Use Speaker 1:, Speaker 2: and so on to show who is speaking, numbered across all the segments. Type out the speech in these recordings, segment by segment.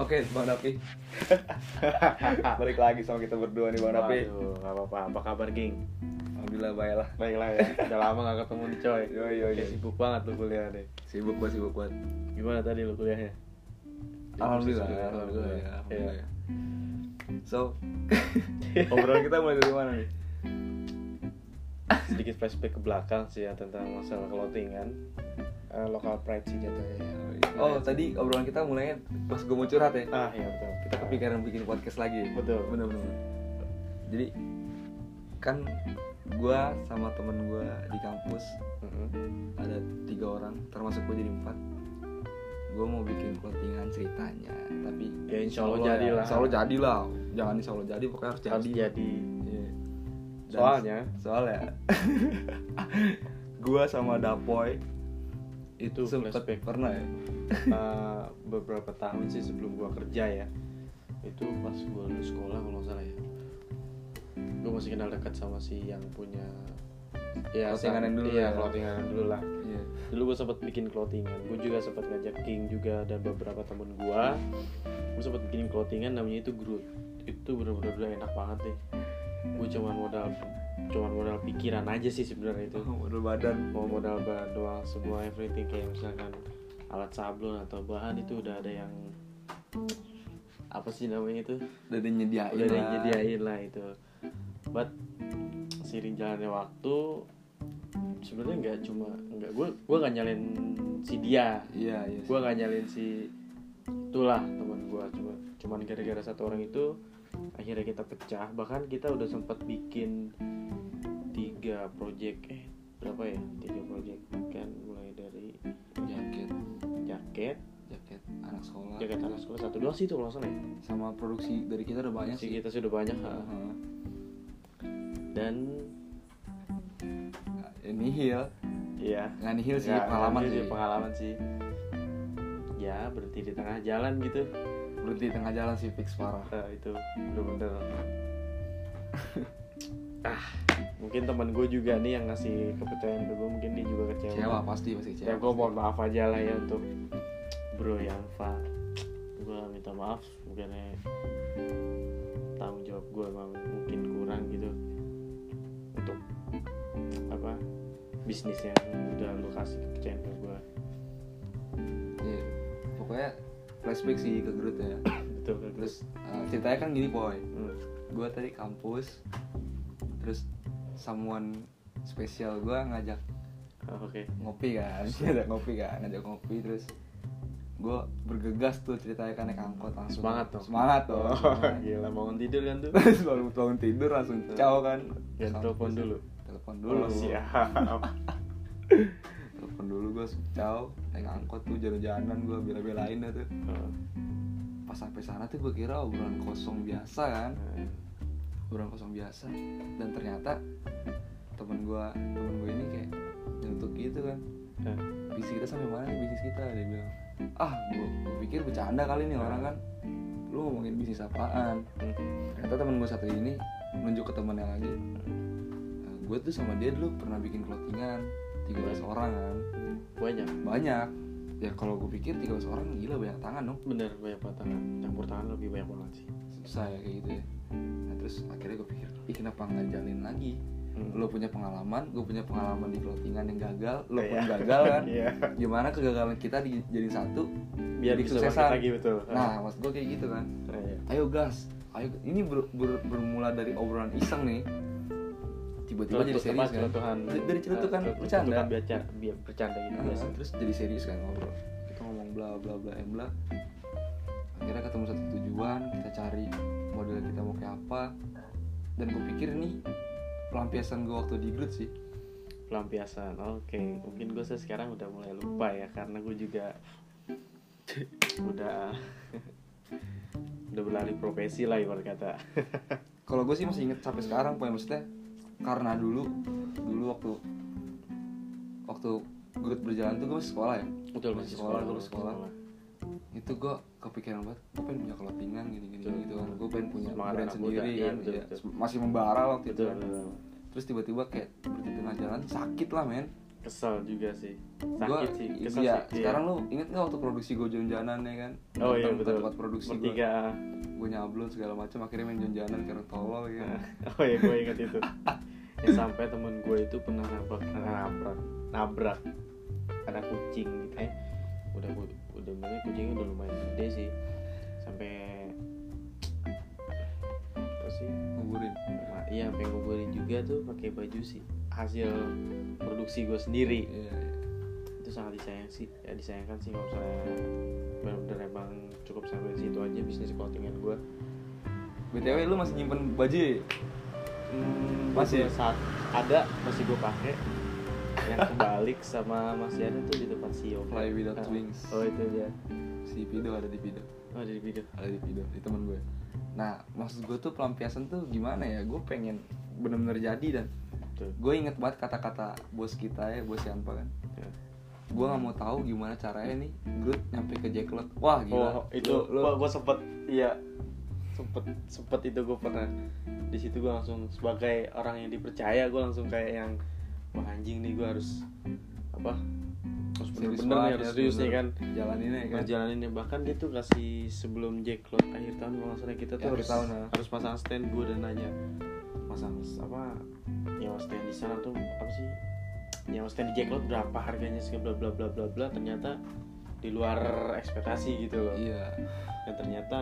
Speaker 1: Oke, Bang Dapi.
Speaker 2: Balik lagi sama kita berdua nih Bang Napi.
Speaker 3: Waduh, nggak apa-apa. Apa kabar, geng?
Speaker 2: Alhamdulillah baiklah.
Speaker 3: Baiklah ya. Udah lama nggak ketemu nih, coy.
Speaker 2: Yo yo yo.
Speaker 3: Kayak sibuk banget lu kuliah nih.
Speaker 1: Sibuk gua sibuk banget.
Speaker 3: Gimana tadi lu kuliahnya?
Speaker 1: Alhamdulillah,
Speaker 3: Sibuk, sibuk,
Speaker 1: alhamdulillah,
Speaker 3: ya.
Speaker 1: alhamdulillah.
Speaker 3: Iya.
Speaker 1: So, obrolan kita mulai dari mana nih?
Speaker 3: Sedikit flashback ke belakang sih ya tentang masalah clothing kan. Eh, local pride sih jatuhnya. ya.
Speaker 1: Oh, tadi obrolan kita mulainya pas gua mau curhat ya.
Speaker 3: Ah, iya betul.
Speaker 1: Kita kepikiran bikin podcast lagi.
Speaker 3: Betul.
Speaker 1: Bener-bener. Jadi kan gua sama temen gua di kampus
Speaker 3: Mm-mm.
Speaker 1: ada tiga orang, termasuk gua jadi empat. Gua mau bikin clothingan ceritanya, tapi
Speaker 3: Ya, insya Allah jadilah.
Speaker 1: Insya Allah jadilah. Jangan insya Allah jadi, pokoknya harus
Speaker 3: Harus
Speaker 1: jadi.
Speaker 3: jadi.
Speaker 1: Iya. Dan
Speaker 3: Soalnya
Speaker 1: soalnya gua sama Dapoy itu
Speaker 3: Itu
Speaker 1: sempet
Speaker 3: flashback.
Speaker 1: pernah ya
Speaker 3: eh, beberapa tahun sih sebelum gua kerja ya itu pas gua lulus sekolah kalau nggak salah ya gua masih kenal dekat sama si yang punya ya
Speaker 1: Clothingan yang dulu
Speaker 3: iya,
Speaker 1: ya.
Speaker 3: clothingan yang dulu lah
Speaker 1: Iya,
Speaker 3: dulu gue sempat bikin clothingan gue juga sempat ngajak King juga dan beberapa temen gue gue sempat bikin clothingan namanya itu Groot itu bener-bener udah enak banget deh gue cuman modal cuman modal pikiran aja sih sebenarnya itu
Speaker 1: model badan
Speaker 3: mau modal bahan doang semua everything kayak misalkan alat sablon atau bahan itu udah ada yang apa sih namanya itu
Speaker 1: udah ada yang nyediain
Speaker 3: udah ada yang
Speaker 1: lah.
Speaker 3: nyediain lah itu but seiring jalannya waktu sebenarnya nggak cuma nggak gue gue nggak nyalain si dia
Speaker 1: iya iya
Speaker 3: gue nggak nyalain si itulah teman gue cuma cuman gara-gara satu orang itu akhirnya kita pecah bahkan kita udah sempat bikin tiga project eh berapa ya tiga project kan mulai dari
Speaker 1: jaket
Speaker 3: jaket
Speaker 1: jaket anak sekolah
Speaker 3: jaket anak sekolah satu doang sih itu kalau nggak salah ya
Speaker 1: sama produksi dari kita udah banyak
Speaker 3: si
Speaker 1: sih
Speaker 3: kita sudah banyak ha.
Speaker 1: Heeh.
Speaker 3: dan
Speaker 1: ini nihil
Speaker 3: Iya.
Speaker 1: nggak nihil sih
Speaker 3: Nggak,
Speaker 1: pengalaman
Speaker 3: nggak,
Speaker 1: sih
Speaker 3: ini Pengalaman sih. Ya berhenti di tengah jalan gitu.
Speaker 1: berhenti di tengah jalan sih fix parah
Speaker 3: Nah, itu bener-bener. ah, mungkin teman gue juga nih yang ngasih kepercayaan ke gue mungkin dia juga kecewa.
Speaker 1: kecewa pasti pasti
Speaker 3: Ya
Speaker 1: kecewa
Speaker 3: gue mohon maaf aja lah ya untuk bro yang fa. Gue minta maaf bukannya tanggung jawab gue emang mungkin kurang gitu untuk apa bisnis yang udah lu kasih kepercayaan ke gue
Speaker 1: Iya. pokoknya flashback sih ke Groot ya
Speaker 3: betul terus
Speaker 1: terus eh, ceritanya kan gini boy
Speaker 3: hmm.
Speaker 1: gue tadi kampus terus someone spesial gue ngajak
Speaker 3: Ah, oke
Speaker 1: ngopi kan ngajak ngopi kan ngajak ngopi terus gue bergegas tuh ceritanya kan naik angkot langsung
Speaker 3: semangat dong
Speaker 1: semangat tuh
Speaker 3: Oh, gila bangun tidur kan tuh
Speaker 1: terus baru bangun tidur langsung caw kan Kampus.
Speaker 3: Dan Ya, telepon dulu.
Speaker 1: telepon dulu
Speaker 3: Oh, siap
Speaker 1: telepon dulu gue caw naik angkot tuh jalan-jalanan gue bela-belain dah tuh
Speaker 3: Oh,
Speaker 1: pas sampai sana tuh gue kira obrolan kosong biasa kan
Speaker 3: eh,
Speaker 1: obrolan kosong biasa dan ternyata temen gue temen gue ini kayak nyentuh gitu kan
Speaker 3: eh.
Speaker 1: bisnis kita sampai mana nih bisnis kita dia bilang ah gue pikir bercanda kali nih orang kan lu ngomongin bisnis apaan
Speaker 3: Hmm.
Speaker 1: ternyata temen gue satu ini nunjuk ke temennya lagi gue tuh sama dia dulu pernah bikin clothingan 13 orang kan
Speaker 3: banyak
Speaker 1: banyak ya kalau gue pikir 13 orang gila banyak tangan dong
Speaker 3: bener banyak banget tangan campur tangan lebih banyak banget sih
Speaker 1: susah ya kayak gitu ya nah terus akhirnya gue pikir ih kenapa nggak jalin lagi
Speaker 3: Hmm.
Speaker 1: lo punya pengalaman gue punya pengalaman di clothingan yang gagal lo pun
Speaker 3: Iya.
Speaker 1: gagal kan
Speaker 3: Iya.
Speaker 1: gimana kegagalan kita dijadiin satu
Speaker 3: biar
Speaker 1: jadi
Speaker 3: bisa gitu.
Speaker 1: kesuksesan.
Speaker 3: bangkit lagi betul
Speaker 1: nah maksud gue kayak gitu kan
Speaker 3: Ah, iya.
Speaker 1: ayo gas ayo ini ber- ber- bermula dari obrolan iseng nih tiba-tiba jadi serius kan
Speaker 3: Celetukan,
Speaker 1: D- dari celetukan
Speaker 3: eh,
Speaker 1: bercanda
Speaker 3: celetukan biar- biar bercanda gitu
Speaker 1: Ah,
Speaker 3: biasa
Speaker 1: terus jadi serius kan ngobrol kita ngomong bla bla bla eh, bla akhirnya ketemu satu tujuan kita cari model kita mau kayak apa dan gue pikir nih pelampiasan gue waktu di Groot sih
Speaker 3: pelampiasan oke mungkin gue sekarang udah mulai lupa ya karena gue juga udah udah berlari profesi lah ibarat kata
Speaker 1: kalau gue sih masih inget sampai sekarang poin maksudnya karena dulu dulu waktu waktu Groot berjalan tuh gue masih sekolah ya
Speaker 3: betul
Speaker 1: masih sekolah, gue masih sekolah. itu gue kepikiran banget gue pengen punya clothingan gini gini
Speaker 3: Betul.
Speaker 1: gitu kan gue pengen punya
Speaker 3: Semangat
Speaker 1: brand
Speaker 3: anak
Speaker 1: sendiri
Speaker 3: muda, iya,
Speaker 1: kan
Speaker 3: betul,
Speaker 1: iya.
Speaker 3: betul.
Speaker 1: masih membara waktu itu
Speaker 3: betul
Speaker 1: kan. terus tiba-tiba kayak berhenti di tengah jalan sakit lah men
Speaker 3: kesel juga sih
Speaker 1: Gua-
Speaker 3: sakit sih kesel
Speaker 1: iya,
Speaker 3: sih
Speaker 1: sekarang lu inget nggak waktu produksi gue jonjanan ya kan
Speaker 3: oh iya
Speaker 1: Nonton
Speaker 3: betul
Speaker 1: tempat produksi gue
Speaker 3: bertiga
Speaker 1: gue nyablon segala macam akhirnya main jonjanan karena tolol ya
Speaker 3: oh ya gue inget itu ya, sampai temen gue itu pernah nabrak nabrak nabrak ada kucing gitu eh udah ku- udah mana kucingnya udah lumayan gede sih sampai apa sih
Speaker 1: nguburin
Speaker 3: Nah, iya sampai nguburin juga tuh pakai baju sih hasil produksi gue sendiri
Speaker 1: iya
Speaker 3: itu sangat disayang sih ya disayangkan sih kalau misalnya benar-benar emang cukup sampai situ aja bisnis clothingan gue
Speaker 1: btw lu masih nyimpen baju ya?
Speaker 3: Hmm,
Speaker 1: Masih? ya?
Speaker 3: masih saat ada masih gue pakai yang kebalik sama masih ada tuh di tempat CEO
Speaker 1: Fly Without
Speaker 3: Ah,
Speaker 1: Wings.
Speaker 3: oh itu dia
Speaker 1: si Pido ada di Pido
Speaker 3: oh ada di video
Speaker 1: ada di Pido di teman gue nah maksud gue tuh pelampiasan tuh gimana ya gue pengen bener-bener jadi dan
Speaker 3: tuh
Speaker 1: gue inget banget kata-kata bos kita ya bos Yanpa kan
Speaker 3: Ya.
Speaker 1: gue nggak mau tahu gimana caranya nih Groot nyampe ke Jacklot wah gila
Speaker 3: oh itu
Speaker 1: Lu- lu-
Speaker 3: gua gue sempet iya sempet sempet itu gue pernah di situ gue langsung sebagai orang yang dipercaya gue langsung kayak yang wah anjing nih gue harus apa harus
Speaker 1: Serius
Speaker 3: bener-bener
Speaker 1: banget,
Speaker 3: nih harus
Speaker 1: ya, harus
Speaker 3: serius nih
Speaker 1: bener.
Speaker 3: kan
Speaker 1: jalaninnya ya kan
Speaker 3: perjalanan ini bahkan dia tuh kasih sebelum Jack Lot akhir tahun kalau nggak salah kita
Speaker 1: Ya,
Speaker 3: tuh
Speaker 1: akhir
Speaker 3: harus
Speaker 1: tahun, ya.
Speaker 3: harus pasang stand gue dan nanya pasang apa nyawa stand di sana tuh apa sih nyawa stand di Jack Lot berapa harganya segala bla bla bla bla bla ternyata di luar ekspektasi gitu loh
Speaker 1: iya
Speaker 3: dan ternyata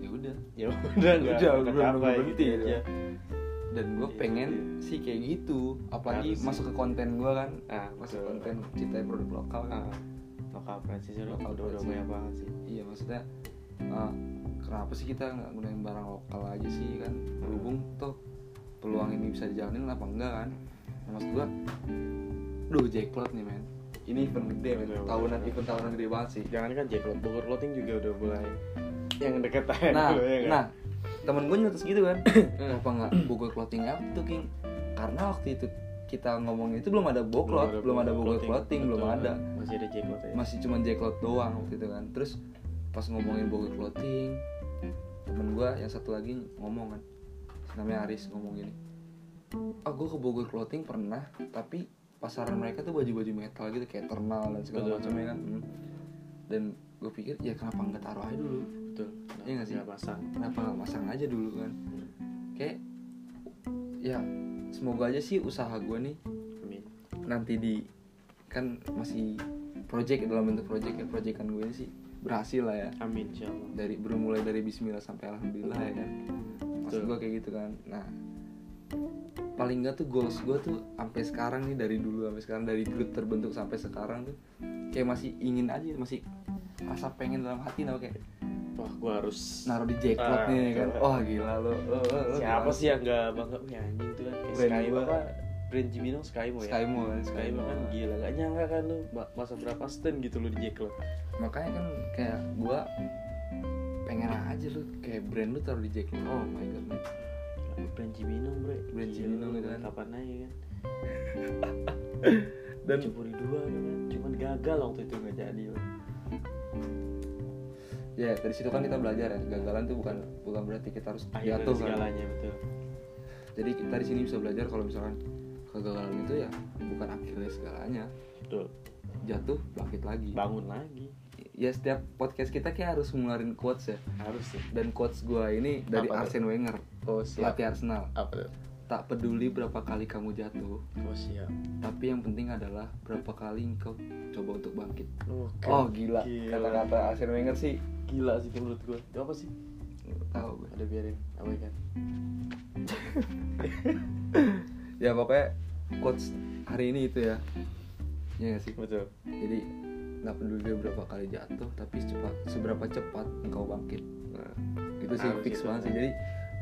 Speaker 1: ya udah
Speaker 3: ya udah nggak
Speaker 1: Udah,
Speaker 3: nggak
Speaker 1: udah,
Speaker 3: apa
Speaker 1: udah berhenti
Speaker 3: gitu
Speaker 1: ya. dan gue
Speaker 3: Iya,
Speaker 1: pengen
Speaker 3: iya.
Speaker 1: sih kayak gitu apalagi
Speaker 3: Harus sih.
Speaker 1: masuk ke konten gue kan
Speaker 3: ah
Speaker 1: masuk
Speaker 3: betul.
Speaker 1: konten cintai produk lokal kan.
Speaker 3: ah lokal Prancis udah
Speaker 1: Lokal
Speaker 3: udah udah
Speaker 1: Prancis.
Speaker 3: banyak banget sih
Speaker 1: iya maksudnya eh, kenapa sih kita nggak gunain barang lokal aja sih kan berhubung tuh peluang ini bisa dijalanin apa enggak kan nah, maksud gua duh jackpot nih men ini event gede men
Speaker 3: Bener,
Speaker 1: tahunan
Speaker 3: bener.
Speaker 1: event tahunan gede banget sih
Speaker 3: jangan kan Jack Lot Bogor Loting juga udah mulai yang deket aja
Speaker 1: nah
Speaker 3: dulu, ya nggak?
Speaker 1: nah temen gue nyetus gitu kan kenapa nggak Bogor clothing out tuh king karena waktu itu kita ngomongin itu belum ada boklot belum ada Bogor clothing belum
Speaker 3: Betul.
Speaker 1: ada
Speaker 3: masih ada Jack Lot aja
Speaker 1: masih cuman jackpot doang waktu itu kan terus pas ngomongin Bogor clothing temen gue yang satu lagi ngomong kan namanya Aris ngomong gini ah gue ke Bogor clothing pernah tapi pasaran mereka tuh baju-baju metal gitu kayak ternal dan segala
Speaker 3: Betul.
Speaker 1: macamnya kan Hmm. dan gue pikir ya kenapa nggak taruh aja dulu
Speaker 3: betul
Speaker 1: Iya nggak sih?
Speaker 3: Nggak pasang
Speaker 1: kenapa nggak pasang aja dulu kan kayak ya semoga aja sih usaha gue nih
Speaker 3: amin
Speaker 1: nanti di kan masih project dalam bentuk project ya proyekan gue ini sih berhasil lah ya
Speaker 3: amin insyaallah
Speaker 1: dari bermulai dari Bismillah sampai Alhamdulillah ya kan maksud
Speaker 3: Betul.
Speaker 1: gue kayak gitu kan nah paling nggak tuh goals gue tuh sampai sekarang nih dari dulu sampai sekarang dari dulu terbentuk sampai sekarang tuh kayak masih ingin aja masih rasa pengen dalam hati nah kayak
Speaker 3: wah gue harus
Speaker 1: naruh di jackpot
Speaker 3: Ah,
Speaker 1: nih ya kan
Speaker 3: betul.
Speaker 1: wah gila lo lo- lo- lo
Speaker 3: siapa
Speaker 1: gila.
Speaker 3: sih yang nggak bangga wih anjing tuh kan kayak
Speaker 1: Brand
Speaker 3: Sky
Speaker 1: gua.
Speaker 3: apa brand Jimino Skymo ya
Speaker 1: Skymo kan
Speaker 3: Skymo kan gila gak nyangka kan lu ma- masa berapa stand gitu lu di Jack Lot
Speaker 1: makanya kan kayak gua pengen aja lu kayak brand lu taruh di Jack Lo. oh my god man.
Speaker 3: Gila, brand Jimino bre
Speaker 1: Brand
Speaker 3: Gila,
Speaker 1: Jimino
Speaker 3: lu
Speaker 1: gitu kan.
Speaker 3: kapan aja kan
Speaker 1: dan
Speaker 3: cemburu dua kan cuman gagal waktu itu nggak jadi lah
Speaker 1: ya dari situ kan kita belajar ya kegagalan tuh bukan bukan berarti kita harus
Speaker 3: akhirnya
Speaker 1: jatuh kan
Speaker 3: segalanya betul
Speaker 1: jadi kita di sini bisa belajar kalau misalkan kegagalan itu ya bukan akhir dari segalanya
Speaker 3: betul
Speaker 1: jatuh bangkit lagi
Speaker 3: bangun lagi
Speaker 1: ya setiap podcast kita kayak harus ngeluarin quotes ya
Speaker 3: harus sih
Speaker 1: dan quotes gua ini dari
Speaker 3: Apa tuh?
Speaker 1: Arsene Wenger
Speaker 3: oh
Speaker 1: pelatih Arsenal
Speaker 3: apa tuh
Speaker 1: tak peduli berapa kali kamu jatuh
Speaker 3: oh siap
Speaker 1: tapi yang penting adalah berapa kali engkau coba untuk bangkit
Speaker 3: Oke.
Speaker 1: Oh gila,
Speaker 3: Gila.
Speaker 1: kata-kata Arsene Wenger sih
Speaker 3: gila sih itu menurut gue itu apa sih
Speaker 1: tahu gue.
Speaker 3: ada biarin apa kan
Speaker 1: Ya pokoknya quotes hari ini itu ya. Iya gak sih?
Speaker 3: betul
Speaker 1: Jadi nggak peduli berapa kali jatuh, tapi cepat seberapa cepat engkau bangkit.
Speaker 3: nah,
Speaker 1: Itu sih
Speaker 3: Harus
Speaker 1: fix
Speaker 3: itu.
Speaker 1: banget sih. Jadi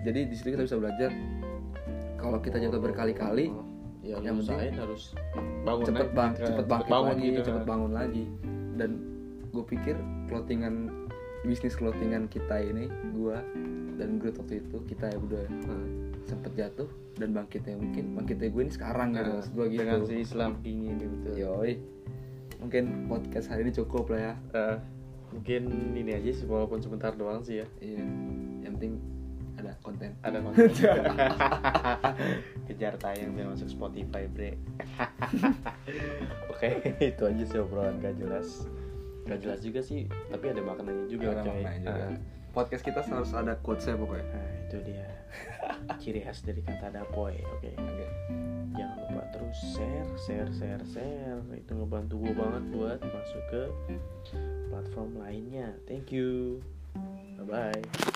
Speaker 1: jadi di situ kita bisa belajar kalau kita jatuh berkali-kali
Speaker 3: oh. ya
Speaker 1: yang
Speaker 3: yang
Speaker 1: penting
Speaker 3: usahain harus bangun
Speaker 1: cepet
Speaker 3: lagi,
Speaker 1: bang
Speaker 3: kan?
Speaker 1: cepet bangkit lagi,
Speaker 3: gitu,
Speaker 1: cepet
Speaker 3: kan?
Speaker 1: bangun lagi. Dan gue pikir clothingan bisnis clothingan kita ini, gua dan Groot waktu itu kita ya berdua ya.
Speaker 3: Nah,
Speaker 1: sempet jatuh dan bangkitnya mungkin bangkitnya gue ini sekarang gitu
Speaker 3: nah,
Speaker 1: maksud gue gitu Iya.
Speaker 3: dengan si Islam gitu. ini betul
Speaker 1: yoi mungkin podcast hari ini cukup lah ya
Speaker 3: Nah, Eh, mungkin ini aja sih walaupun sebentar doang sih ya
Speaker 1: iya yang penting ada ada konten
Speaker 2: ada konten
Speaker 3: kejar tayang biar masuk Spotify bre
Speaker 2: oke itu aja sih obrolan gak jelas
Speaker 3: gak jelas juga sih tapi ada makanannya juga
Speaker 1: Ada
Speaker 3: coy
Speaker 1: maknanya juga. podcast kita harus ada quotes ya pokoknya
Speaker 3: nah itu dia ciri khas dari kata dapoy oke
Speaker 1: Oke.
Speaker 3: jangan lupa terus share share share share itu ngebantu gue banget buat masuk ke platform lainnya thank you bye bye